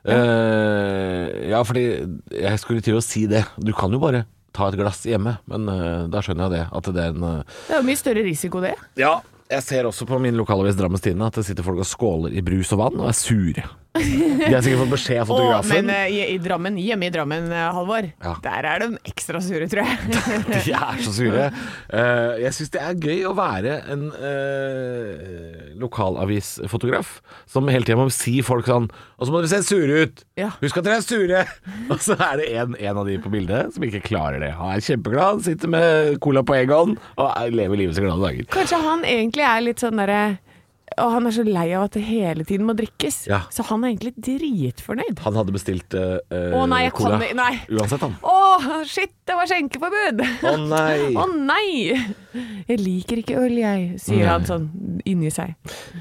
S4: Eh, ja, fordi jeg skulle til å si det. Du kan jo bare ta et glass hjemme, men eh, da skjønner jeg det. At det er en eh,
S3: Det er jo mye større risiko, det.
S4: Ja, jeg ser også på min lokalavis Drammens Tidende at det sitter folk og skåler i brus og vann og er sure. De har sikkert fått beskjed av
S3: Å, men
S4: fotografen.
S3: eh, i, i Drammen, hjemme i Drammen, eh, Halvor,
S4: Ja.
S3: der er de ekstra sure, tror jeg.
S4: [laughs]
S3: [laughs]
S4: De er så sure. Eh, jeg syns det er gøy å være en eh, lokalavisfotograf som hele tida må si folk sånn Og så må dere se sure ut!
S3: Ja.
S4: Husk at dere er sure! [laughs] Og så er det en, en av de på bildet som ikke klarer det. Han er kjempeglad, sitter med cola på Egon og er- lever livet sitt glade dager.
S3: Kanskje han egentlig er litt sånn derre Og han er så lei av at det hele tiden må drikkes,
S4: Ja.
S3: så han er egentlig dritfornøyd.
S4: Han hadde bestilt eh, eh,
S3: Å nei, jeg
S4: cola
S3: kan ikke Nei.
S4: uansett, han.
S3: Å, shit, det var skjenkeforbud!
S4: Å nei!
S3: [laughs] Å nei! Jeg liker ikke øl, jeg, sier han sånn inni seg.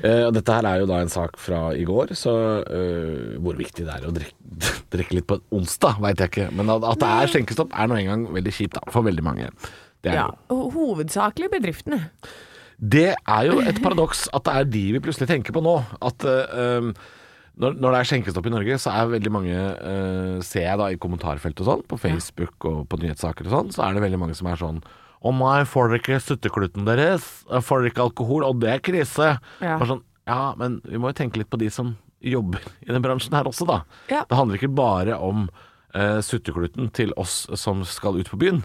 S4: Eh, og dette her er jo da en sak fra i går, så eh, hvor viktig det er å drikke, [laughs] drikke litt på en onsdag, veit jeg ikke. Men at, at det er skjenkestopp er nå engang veldig kjipt da, for veldig mange. Det er,
S3: Ja.
S4: jo-
S3: og Hovedsakelig bedriftene.
S4: det er jo et paradoks at det er de vi plutselig tenker på nå. At eh, um, når, når det er skjenkestopp i Norge, så er veldig mange eh, Ser jeg da i kommentarfeltet og sånn, på Facebook og på nyhetssaker og sånn, så er det veldig mange som er sånn å nei, får dere ikke suttekluten deres? Får dere ikke alkohol? Og det er krise.
S3: Ja.
S4: Bare sånn, ja, men vi må jo tenke litt på de som jobber i den bransjen her også, da.
S3: Ja.
S4: Det handler ikke bare om eh, suttekluten til oss som skal ut på byen.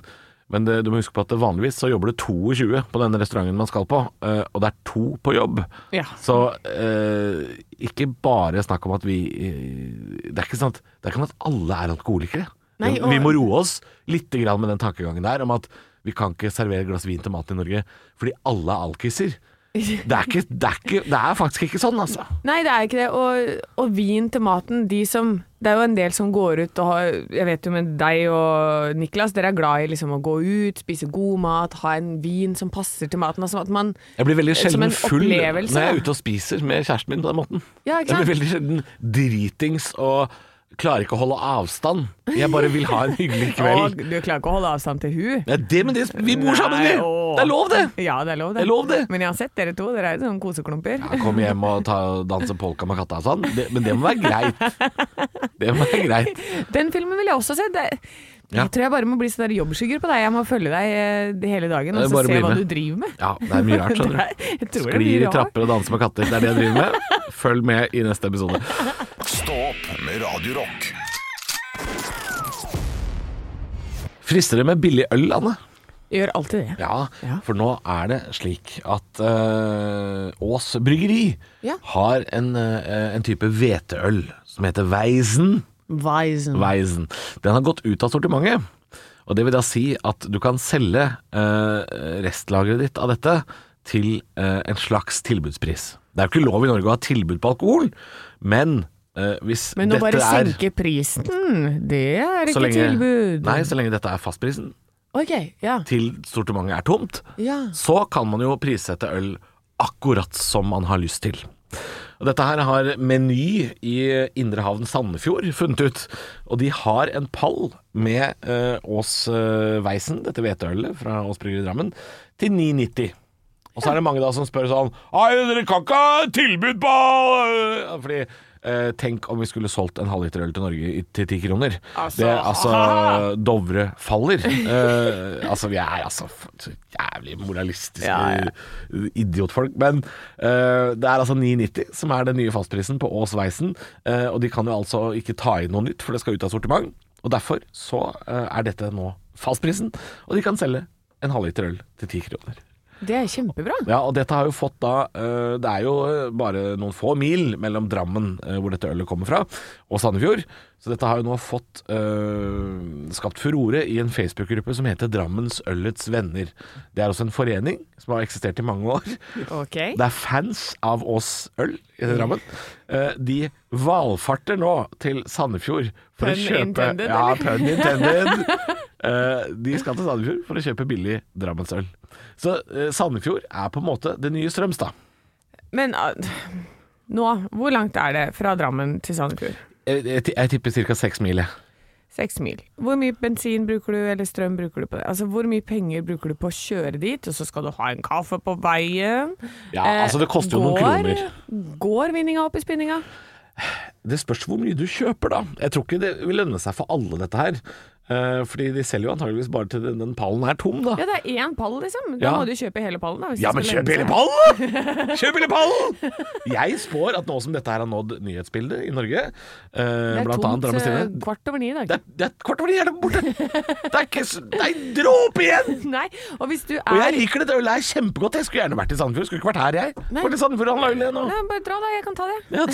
S4: Men det, du må huske på at det vanligvis så jobber det 22 på den restauranten man skal på, eh, og det er to på jobb.
S3: Ja.
S4: Så eh, ikke bare snakk om at vi eh, Det er ikke sant Det er ikke sånn at alle er alkoholikere.
S3: Nei,
S4: Vi-
S3: og-
S4: Vi må roe oss litt grann med den tankegangen der om at vi kan ikke servere et glass vin til maten i Norge fordi alle er alkiser. Det er, ikke, det, er ikke, det er faktisk ikke sånn, altså.
S3: Nei, det er ikke det. Og, og vin til maten de som, Det er jo en del som går ut og har Jeg vet jo med deg og Niklas, dere er glad i liksom å gå ut, spise god mat, ha en vin som passer til maten. Altså at man
S4: Jeg blir veldig
S3: Som en
S4: sjelden full når
S3: opplevelse,
S4: jeg er
S3: da.
S4: ute og spiser med kjæresten min på den måten.
S3: Ja, ikke
S4: jeg blir
S3: sant?
S4: veldig sjelden dritings og klarer ikke å holde avstand. Jeg bare vil ha en
S3: [laughs]
S4: hyggelig
S3: Å,
S4: kveld.
S3: du klarer ikke å holde avstand til hun.
S4: Ja, det, men det, vi bor sammen, vi!
S3: Nei, å.
S4: Det er lov, det!
S3: Ja, det er lov, det.
S4: Det er lov, det.
S3: Men jeg har sett dere to, dere er jo sånne koseklumper.
S4: Ja, Kom hjem og ta, danse polka med katta og sånn. Det, men det må være greit. Det må være greit.
S3: Den filmen vil jeg også se. Det,
S4: Ja.
S3: Jeg tror jeg bare må bli sånn der jobbskygger på deg. Jeg må følge deg eh, hele dagen og
S4: Jeg
S3: så
S4: bare
S3: se
S4: blir
S3: hva
S4: med.
S3: du driver med.
S4: Ja, det er mye rart, skjønner
S3: [laughs] Det er- jeg
S4: du.
S3: tror det er mye
S4: Sklir i
S3: rart.
S4: trapper og danser med katter. Det er det jeg driver med. Følg med i neste episode.
S2: Stå opp med Radio Rock.
S4: Frister det med billig øl, Anne?
S3: Jeg gjør alltid det.
S4: Ja,
S3: Ja.
S4: for nå er det slik at eh, Ås Bryggeri
S3: Ja.
S4: har en, eh, en type hveteøl som heter Weisen.
S3: Weisen.
S4: Weisen. Den har gått ut av sortimentet. Og det vil da si at du kan selge eh, restlageret ditt av dette til eh, en slags tilbudspris. Det er jo ikke lov i Norge å ha tilbud på alkohol, men eh, hvis
S3: Men å
S4: dette
S3: bare
S4: er
S3: senke prisen, det er
S4: så
S3: ikke
S4: lenge,
S3: tilbud.
S4: Nei, så lenge dette er fastprisen
S3: Ok, ja.
S4: til sortimentet er tomt,
S3: Ja.
S4: så kan man jo prissette øl akkurat som man har lyst til. Og dette her har Meny i Indre Havn Sandefjord funnet ut. Og de har en pall med eh, Ås eh, Weisen, dette hveteølet fra Ås Brygger i Drammen, til 9,90. Og så er det mange da som spør sånn Nei, dere kan ikke ha tilbud på eh», Fordi eh, tenk om vi skulle solgt en halvliterøl til Norge i- til ti kroner.
S3: Altså,
S4: det, altså [laughs] Dovre faller. Eh, altså, vi er altså f- så jævlig moralistiske
S3: Ja, ja.
S4: idiotfolk. Men eh, det er altså 9,90 som er den nye fastprisen på Ås Weisen. eh, og de kan jo altså ikke ta inn noe nytt, for det skal ut av sortiment. Og derfor så eh, er dette nå fastprisen, og de kan selge en halvliter øl til ti kroner.
S3: Det er kjempebra.
S4: Ja, og dette har jo fått da eh, Det er jo eh, bare noen få mil mellom Drammen, eh, hvor dette ølet kommer fra, og Sandefjord. Så dette har jo nå fått eh, skapt furore i en Facebook-gruppe som heter Drammens Ølets Venner. Det er også en forening som har eksistert i mange år.
S3: Ok.
S4: Det er fans av Ås øl i Drammen. Eh, De valfarter nå til Sandefjord for
S3: Pun
S4: å kjøpe
S3: intended,
S4: Ja,
S3: eller?
S4: pun
S3: [laughs]
S4: intended. Eh, De skal til Sandefjord for å kjøpe billig Drammensøl. Så eh, Sandefjord er på en måte det nye Strømstad.
S3: Men ah, nå, hvor langt er det fra Drammen til Sandefjord?
S4: Jeg, jeg, ti- jeg tipper ca. seks mil. jeg.
S3: Seks mil. Hvor mye bensin bruker du, eller strøm bruker du på det? Altså, hvor mye penger bruker du på å kjøre dit, og så skal du ha en kaffe på veien? Eh,
S4: Ja, altså det koster jo noen kroner.
S3: Går vinninga opp i spinninga?
S4: Det spørs hvor mye du kjøper, da. Jeg tror ikke det vil lønne seg for alle, dette her. Eh, Fordi de selger jo antageligvis bare til den, den pallen er tom, da.
S3: Ja, det er én pall, liksom. Da
S4: Ja.
S3: må du kjøpe hele pallen. da. hvis
S4: Ja,
S3: det
S4: men
S3: skal
S4: kjøp
S3: lønne
S4: hele
S3: seg. [laughs]
S4: pallen! da! Kjøp hele pallen! Jeg spår at nå som dette her har nådd nyhetsbildet i Norge, eh,
S3: Det er
S4: blant annet
S3: tomt
S4: Drammens
S3: eh,
S4: Tidende
S3: kvart over ni i dag.
S4: det, er- det er kort over de er det borte! Det er ikke s- Det er en dråpe igjen!
S3: Nei, og hvis du
S4: Og
S3: er
S4: jeg liker dette ølet her kjempegodt. Jeg skulle gjerne vært i Sandefjord. Skulle ikke vært her, jeg.
S3: Nei.
S4: Vært i Sandefjord og handla øl igjen nå.
S3: Nei, bare dra, da. Jeg kan ta det.
S4: Ja.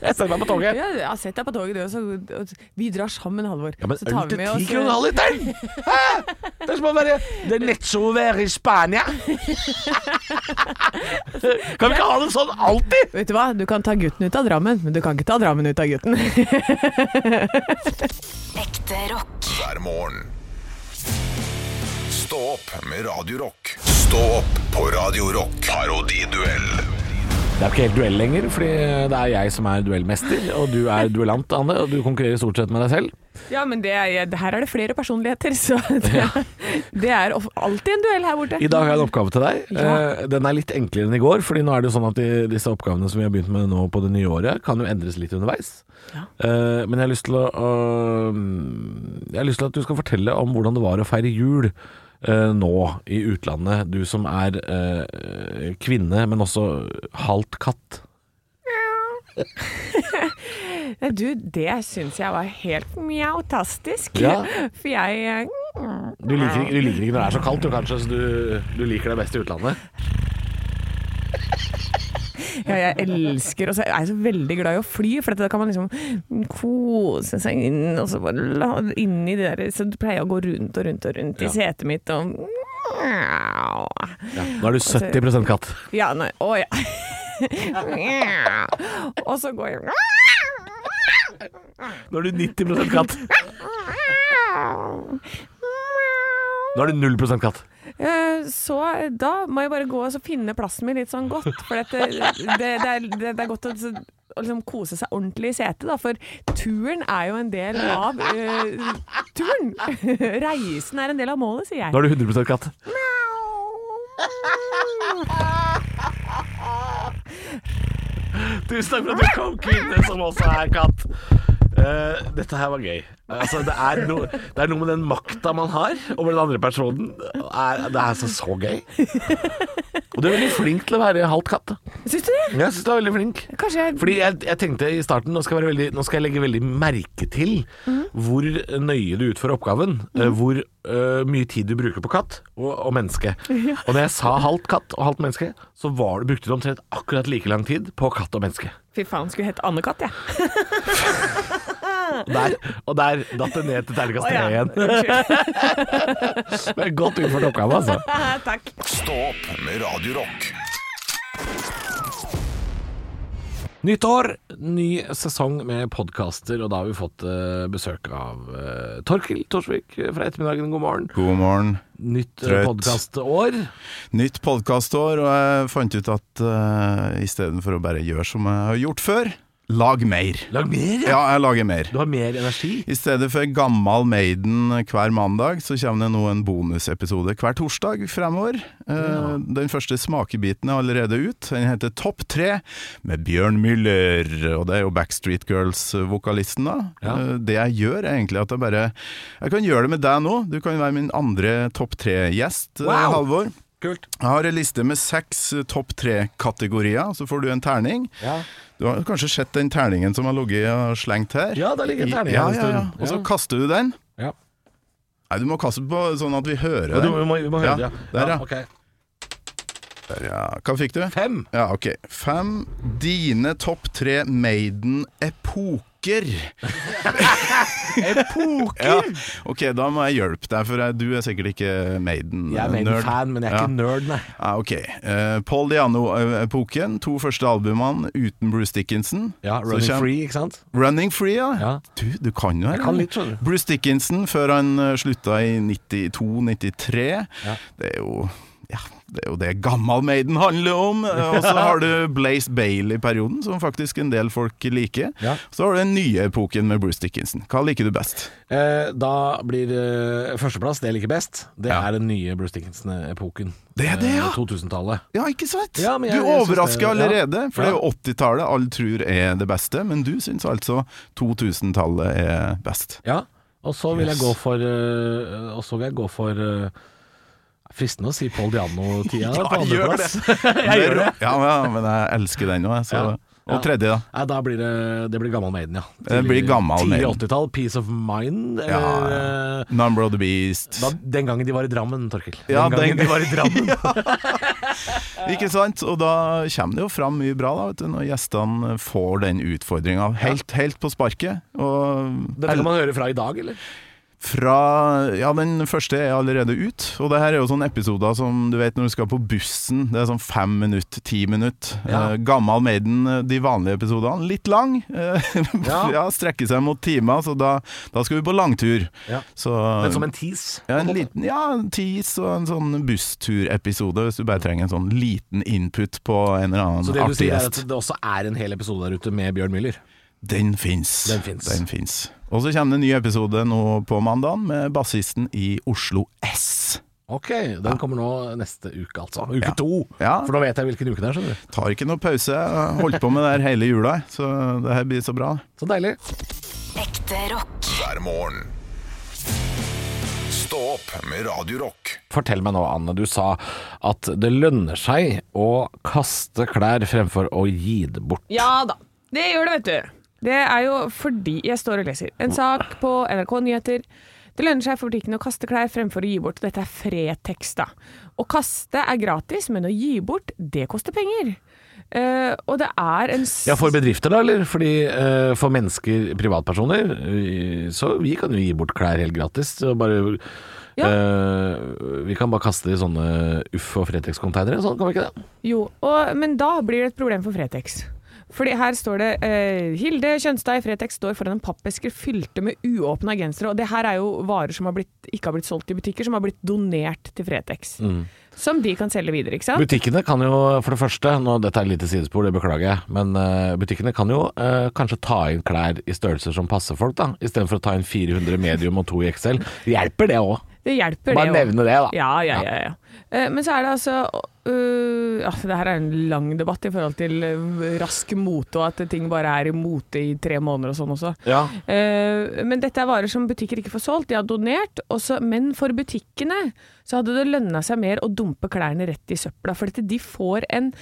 S4: Jeg setter meg på toget.
S3: Ja, ja, Sett deg på toget, du. og så- og Vi drar sammen, Halvor.
S4: Ja, men
S3: Så tar
S4: øl
S3: vi
S4: til
S3: med
S4: ti
S3: oss, eh,
S4: kroner halvliteren! Hæ? Det er som å være Det er nett som å være i
S3: [laughs]
S4: Spania. Kan vi ikke ha det sånn alltid?
S3: Vet du hva, du kan ta gutten ut av Drammen, men du kan ikke ta Drammen ut av
S4: [laughs]
S3: gutten.
S1: Ekte rock.
S2: hver morgen. Stå opp med Radio Rock. Stå opp på Radio Rock. Parodiduell
S4: Det er jo ikke helt duell lenger, fordi det er jeg som er duellmester, og du er duellant, Anne, og du konkurrerer stort sett med deg selv.
S3: Ja, men det er, det- her er det flere personligheter, så [laughs] det, det er of- alltid en duell her borte.
S4: I dag har jeg en oppgave til deg.
S3: Ja.
S4: Eh, Den er litt enklere enn i går, fordi nå er det jo sånn at de, disse oppgavene som vi har begynt med nå på det nye året, kan jo endres litt underveis. Eh, Men jeg har lyst til å, å Jeg har lyst til at du skal fortelle om hvordan det var å feire jul. eh, nå i utlandet, du som er eh, kvinne, men også halvt katt.
S3: Nei, Eh, Du, det syns jeg var helt mjautastisk.
S4: Ja.
S3: [laughs] For jeg eh,
S4: Du liker, ikke- du liker ikke når det er så kaldt, du kanskje, så du, du liker deg best i utlandet.
S3: Ja, jeg elsker Og så er jeg så veldig glad i å fly, for at da kan man liksom kose seg inn, og så bare la inni det der Så du pleier å gå rundt og rundt og rundt i
S4: Ja.
S3: setet mitt og
S4: Nå er du 70 katt.
S3: Ja, nei, å ja. [laughs] Og så går jeg
S4: Nå er du 90 katt. Nå er du 0 katt.
S3: Eh, Så da må jeg bare gå og så finne plassen min litt sånn godt, for dette, det, det, er, det, det er godt å så- å liksom kose seg ordentlig i setet, da, for turen er jo en del av eh, turen. [laughs] Reisen er en del av målet, sier jeg.
S4: Nå er du 100 katt. Tusen takk for at du kom, kvinne som også er katt. Eh, dette her var gøy. Altså, det, er no, det er noe med den makta man har over den andre personen. Er, det er altså så gøy. Og du er veldig flink til å være halvt katt.
S3: Syns du det?
S4: Jeg syns du er veldig flink.
S3: Kanskje jeg
S4: Fordi jeg, jeg tenkte i starten nå skal, jeg være veldig, nå skal jeg legge veldig merke til hvor nøye du utfører oppgaven.
S3: Mhm.
S4: eh, Hvor eh, mye tid du bruker på katt og, og menneske.
S3: [laughs]
S4: Og når jeg sa halvt katt og halvt menneske, så var det, brukte du omtrent akkurat like lang tid på katt og menneske.
S3: Fy faen, skulle hett Anne-Katt, jeg.
S4: Og der, og der datt det ned til terningkast
S3: Å,
S4: tre
S3: ja.
S4: igjen. Det er godt utført oppgave, altså.
S3: [laughs] Takk.
S2: Stå opp med Radio Rock.
S4: Nytt år, ny sesong med podkaster, og da har vi fått eh, besøk av eh, Torkil Torsvik eh, fra Ettermiddagen. God morgen.
S7: God morgen.
S4: Nytt eh,
S7: Trøtt.
S4: podkastår.
S7: Nytt podkastår, og jeg fant ut at uh, istedenfor å bare gjøre som jeg har gjort før, lag mer.
S4: Lag mer!
S7: Ja, jeg lager mer.
S4: Du har mer energi.
S7: I stedet for gammal Maiden hver mandag, så kommer det nå en bonusepisode hver torsdag fremover. Eh, Den første smakebiten er allerede ut. Den heter Topp tre med Bjørn Müller. Og det er jo Backstreet Girls-vokalisten, da.
S4: Ja.
S7: Eh, Det jeg gjør, er egentlig at jeg bare Jeg kan gjøre det med deg nå. Du kan være min andre topp tre-gjest, eh,
S4: Wow!
S7: Halvor.
S4: Kult.
S7: Jeg har en liste med seks eh, topp tre-kategorier, så får du en terning.
S4: Ja.
S7: Du har kanskje sett den terningen som har ligget og slengt her?
S4: Ja, der ligger en terning
S7: Ja,
S4: her en
S7: ja, ja.
S4: stund.
S7: Og så
S4: Ja.
S7: kaster du den.
S4: Ja.
S7: Nei, du må kaste på sånn at vi hører
S4: Ja, du,
S7: den.
S4: vi, må, vi må høre
S7: Ja,
S4: det,
S7: der, ja.
S4: ok.
S7: Ja, hva fikk du?
S4: Fem.
S7: Ja, ok. Fem. Dine topp tre Maiden-epoker.
S4: [laughs] Epoker!
S7: Ja. Ok, da må jeg hjelpe deg, for jeg- du er sikkert ikke Maiden-nerd.
S4: Jeg er Maiden-fan, men jeg er
S7: Ja.
S4: ikke nerd, nei.
S7: Ja, ok. Eh, Paul Diano-epoken. To første albumene uten Bruce Dickinson.
S4: Ja,
S7: Så
S4: Running
S7: kjem-
S4: Free, ikke sant?
S7: Running Free, ja.
S4: Ja.
S7: Du, du kan jo her.
S4: Jeg kan litt, skjønner du.
S7: Bruce Dickinson før han eh, slutta i 92-93. Det er jo ja, det er jo det gammal Maiden handler
S4: [laughs]
S7: om. Eh, Og så har du Blaze Bailey-perioden, som faktisk en del folk liker.
S4: Ja.
S7: Så har du den nye epoken med Bruce Dickinson. Hva liker du best?
S4: Eh, da blir eh, førsteplass det jeg liker best. Det
S7: Ja.
S4: er den nye Bruce Dickinson-epoken.
S7: Det er det, ja.
S4: Eh, 2000-tallet.
S7: Ja, ikke sant?
S4: Ja, men jeg-
S7: du
S4: jeg synes det-
S7: overrasker
S4: ja.
S7: allerede, for det er
S4: Ja.
S7: jo 80-tallet alle tror er det beste, men du syns altså 2000-tallet er best.
S4: Ja. Og så vil jeg
S7: Yes.
S4: gå for eh, Og så vil jeg gå for eh, Fristende å si Paul
S7: [laughs]
S4: Diano-tida på andreplass. [laughs] jeg gjør det.
S7: Ja, men- men jeg elsker den òg, så
S4: Ja. Ja.
S7: Og tredje, da?
S4: [laughs] Nei, da blir det, det blir gammel Maiden, ja.
S7: Det blir gammel
S4: Tidlig
S7: Maiden.
S4: 80-tall. Peace of Mind. Eller,
S7: Ja,
S4: eh,
S7: Number of the Beast.
S4: Da, den gangen de var i Drammen, Torkil. Den
S7: Ja,
S4: gangen
S7: den-
S4: de var i
S7: [laughs]
S4: Drammen.
S7: Ikke sant? Og da kommer det jo fram mye bra, da, vet du, når gjestene får den utfordringa. Helt, helt på sparket. Og
S4: Dette kan man høre fra i dag, eller?
S7: fra Ja, den første er allerede ut. Og det her er jo sånne episoder som du vet når du skal på bussen. Det er sånn fem minutt, ti minutt.
S4: Ja.
S7: Eh, gammal Maiden, eh, de vanlige episodene. Litt lang. [laughs] Eh,
S4: Ja.
S7: ja. strekker seg mot timer, så da, da skal vi på langtur.
S4: Ja.
S7: Så
S4: Men som en tease.
S7: ja, en liten ja, en tease og en sånn busstur-episode, hvis du bare trenger en sånn liten input på en eller annen
S4: Så det du
S7: artig
S4: sier er at
S7: gjest.
S4: det også er en hel episode der ute med Bjørn Müller.
S7: Den fins.
S4: Den fins.
S7: Den fins. Og så kommer det en ny episode nå på mandag med bassisten i Oslo S.
S4: Ok, den kommer nå neste uke, altså. Uke
S7: Ja.
S4: to.
S7: Ja.
S4: For nå vet jeg hvilken uke det er, skjønner du.
S7: Tar ikke noe pause. jeg har Holdt på med det her hele jula, så det her blir så bra.
S4: Så deilig.
S1: Ekte rock.
S2: hver morgen. Stå opp med Radio Rock.
S4: Fortell meg nå, Anne. Du sa at det lønner seg å kaste klær fremfor å gi det bort.
S3: Ja da. Det gjør det, vet du. Det er jo fordi jeg står og leser en sak på NRK Nyheter. Det lønner seg for butikken å kaste klær fremfor å gi bort. Dette er Fretex, da. Å kaste er gratis, men å gi bort, det koster penger. Eh, og det er en s-
S4: Ja, For bedrifter, da, eller? Fordi eh, for mennesker, privatpersoner, eh, så vi kan jo gi bort klær helt gratis. Så bare,
S3: Ja.
S4: eh, vi kan bare kaste det i sånne Uff og Fretex-konteinere. Sånn kan vi ikke det?
S3: Jo, og, men da blir det et problem for Fretex. Fordi her står det eh, Hilde Kjønstad i Fretex står foran en pappesker fylte med uåpna gensere. Og det her er jo varer som har blitt, ikke har blitt solgt i butikker, som har blitt donert til Fretex.
S4: Mm.
S3: Som de kan selge videre, ikke sant?
S4: Butikkene kan jo, for det første nå, Dette er et lite sidespor, det beklager jeg. Men eh, butikkene kan jo eh, kanskje ta inn klær i størrelser som passer folk, da. Istedenfor å ta inn 400 medium og to i XL. Hjelper det òg?
S3: Det hjelper det.
S4: Bare
S3: også.
S4: nevne det, da.
S3: Ja, ja, ja. ja. Eh, Men så er det altså øh, altså, Det her er en lang debatt i forhold til øh, rask mote, og at ting bare er i mote i tre måneder og sånn også.
S4: Ja.
S3: Eh, men dette er varer som butikker ikke får solgt, de har donert. Også, men for butikkene så hadde det lønna seg mer å dumpe klærne rett i søpla, for dette, de får en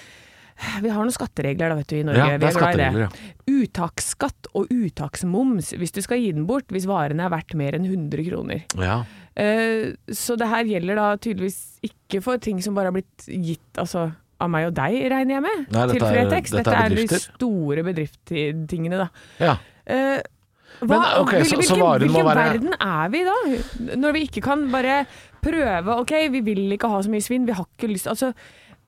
S3: vi har noen skatteregler da, vet du, i Norge.
S4: Ja, det
S3: Vi glad
S4: er
S3: i
S4: skatteregler,
S3: Uttaksskatt og uttaksmoms hvis du skal gi den bort hvis varene er verdt mer enn 100 kroner.
S4: ja.
S3: Eh, så det her gjelder da tydeligvis ikke for ting som bare har blitt gitt altså, av meg og deg, regner jeg med,
S4: Nei, dette
S3: til
S4: er-
S3: Fretex.
S4: dette er
S3: Dette er, de
S4: bedrifter.
S3: store bedriftstingene, da.
S4: ja.
S3: Eh, hva,
S4: Men, ok,
S3: hvil-
S4: så-
S3: hvilken
S4: så varen må
S3: hvilken
S4: være-
S3: verden er vi i da? Når vi ikke kan bare prøve Ok, vi vil ikke ha så mye svinn, vi har ikke lyst Altså,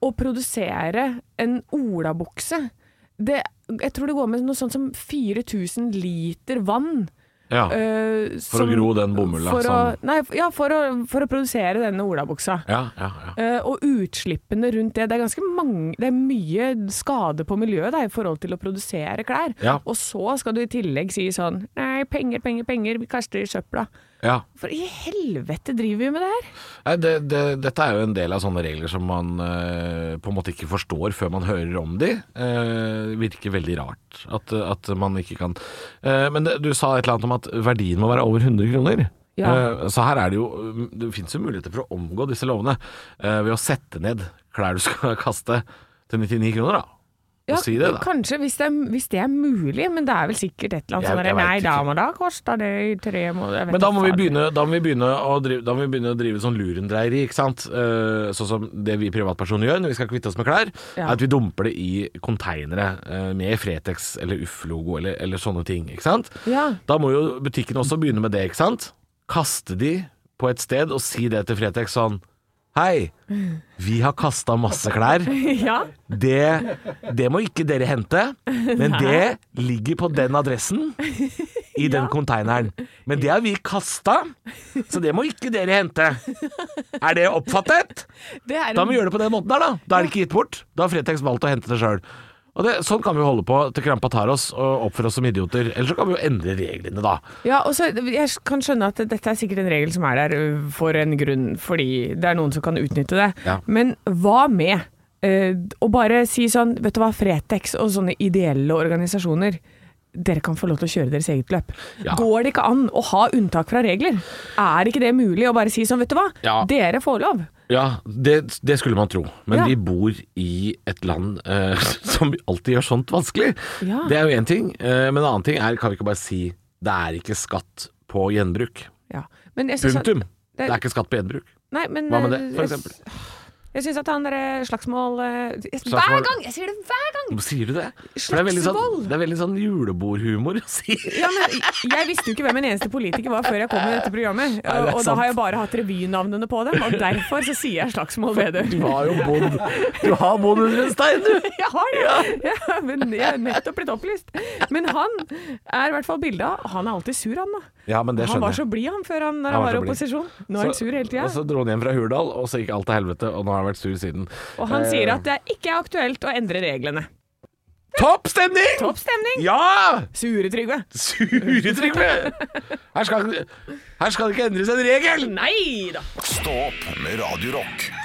S3: å produsere en olabukse det, jeg tror det går med noe sånt som 4000 liter vann.
S4: Ja.
S3: øh,
S4: For å gro den bomulla
S3: For å,
S4: som-
S3: nei, ja, for å, for å produsere denne olabuksa.
S4: ja, ja, ja.
S3: Eh, og utslippene rundt det. Det er ganske mange, det er mye skade på miljøet da, i forhold til å produsere klær.
S4: Ja.
S3: Og så skal du i tillegg si sånn Nei, penger, penger, penger. Vi kaster det i søpla.
S4: ja.
S3: For i helvete driver vi med det her?
S4: Nei, det, det, dette er jo en del av sånne regler som man eh, på en måte ikke forstår før man hører om de. Eh, virker veldig rart at, at man ikke kan eh, Men det, du sa et eller annet om at verdien må være over 100 kroner.
S3: Ja.
S4: Eh, så her er det jo Det fins jo muligheter for å omgå disse lovene eh, ved å sette ned klær du skal [laughs] kaste til 99 kroner, da. Og si det, da.
S3: Kanskje, hvis det, er, hvis det er mulig, men det er vel sikkert et eller annet
S4: Jeg-
S3: sånn
S4: jeg
S3: der,
S4: vet
S3: Nei,
S4: ikke.
S3: da må da kosta det i tre måneder. jeg vet
S4: Men da må, vi
S3: ikke.
S4: begynne, da, må vi begynne å drive, da må vi begynne å drive sånn lurendreieri, ikke sant? Eh, sånn som det vi privatpersoner gjør når vi skal kvitte oss med klær.
S3: Ja.
S4: er At vi dumper det i konteinere eh, med Fretex eller UF-logo eller, eller sånne ting, ikke sant?
S3: Ja.
S4: Da må jo butikken også begynne med det, ikke sant? Kaste de på et sted og si det til Fretex sånn Hei, vi har kasta masse klær.
S3: [laughs] ja.
S4: Det, det må ikke dere hente, men det ligger på den adressen i den konteineren. Men det har vi kasta, så det må ikke dere hente. Er det oppfattet?
S3: Det er
S4: Da må vi gjøre det på den måten der, da. Da er det ikke gitt bort. Da har Fretex valgt å hente det sjøl. Sånn kan vi jo holde på til krampa tar oss og oppføre oss som idioter. Eller så kan vi jo endre reglene, da.
S3: Ja, og så Jeg kan skjønne at dette er sikkert en regel som er der ø, for en grunn, fordi det er noen som kan utnytte det.
S4: Ja.
S3: Men hva med ø, å bare si sånn Vet du hva, Fretex og sånne ideelle organisasjoner dere kan få lov til å kjøre deres eget løp.
S4: Ja.
S3: Går det ikke an å ha unntak fra regler? Er ikke det mulig å bare si sånn, vet du hva,
S4: Ja.
S3: dere får lov.
S4: Ja, det, det skulle man tro. Men
S3: Ja.
S4: vi bor i et land eh, [laughs] som alltid gjør sånt vanskelig.
S3: Ja.
S4: Det er jo én ting. eh, men en annen ting er, kan vi ikke bare si det er ikke skatt på gjenbruk?
S3: Ja. Men jeg synes at-
S4: Punktum.
S3: Altså, det-
S4: Det er ikke skatt på gjenbruk.
S3: Nei, men,
S4: Hva med det,
S3: ø,
S4: for
S3: jeg-
S4: eksempel?
S3: Jeg syns at han derre slagsmål, ø, jeg-
S4: Slagsmål.
S3: Hver gang! Jeg sier det hver gang!
S4: Sier du det? For det er veldig sånn,
S3: Slagsvold.
S4: det er veldig sånn julebordhumor å si.
S3: Ja, men jeg visste jo ikke hvem en eneste politiker var før jeg kom i dette programmet.
S4: Nei, det er
S3: og da
S4: sant.
S3: har jeg bare hatt revynavnene på dem, og derfor så sier jeg Slagsmål
S4: Du
S3: Vedum.
S4: har jo bodd Du har bodd under en stein, du!
S3: [laughs] Jeg har det! Ja, men jeg er nettopp blitt opplyst. Men han er i hvert fall bildet av Han er alltid sur, han da.
S4: Ja, men det
S3: Han var
S4: skjønner
S3: så
S4: jeg.
S3: blid, han, før han, når
S4: Han
S3: han
S4: var
S3: var i
S4: så blid.
S3: opposisjon. Nå er han
S4: Så-
S3: sur hele
S4: Og
S3: tida.
S4: så dro han hjem fra Hurdal, og så gikk alt til helvete, og nå har han vært sur siden.
S3: Og
S4: Eh.
S3: han sier at det ikke er aktuelt å endre reglene.
S4: Topp stemning!
S3: Topp stemning!
S4: Ja!
S3: Sure Trygve.
S4: Sure Trygve! Her skal, her skal det ikke endres en regel!
S3: Nei da!
S2: Stå opp med Radio Rock.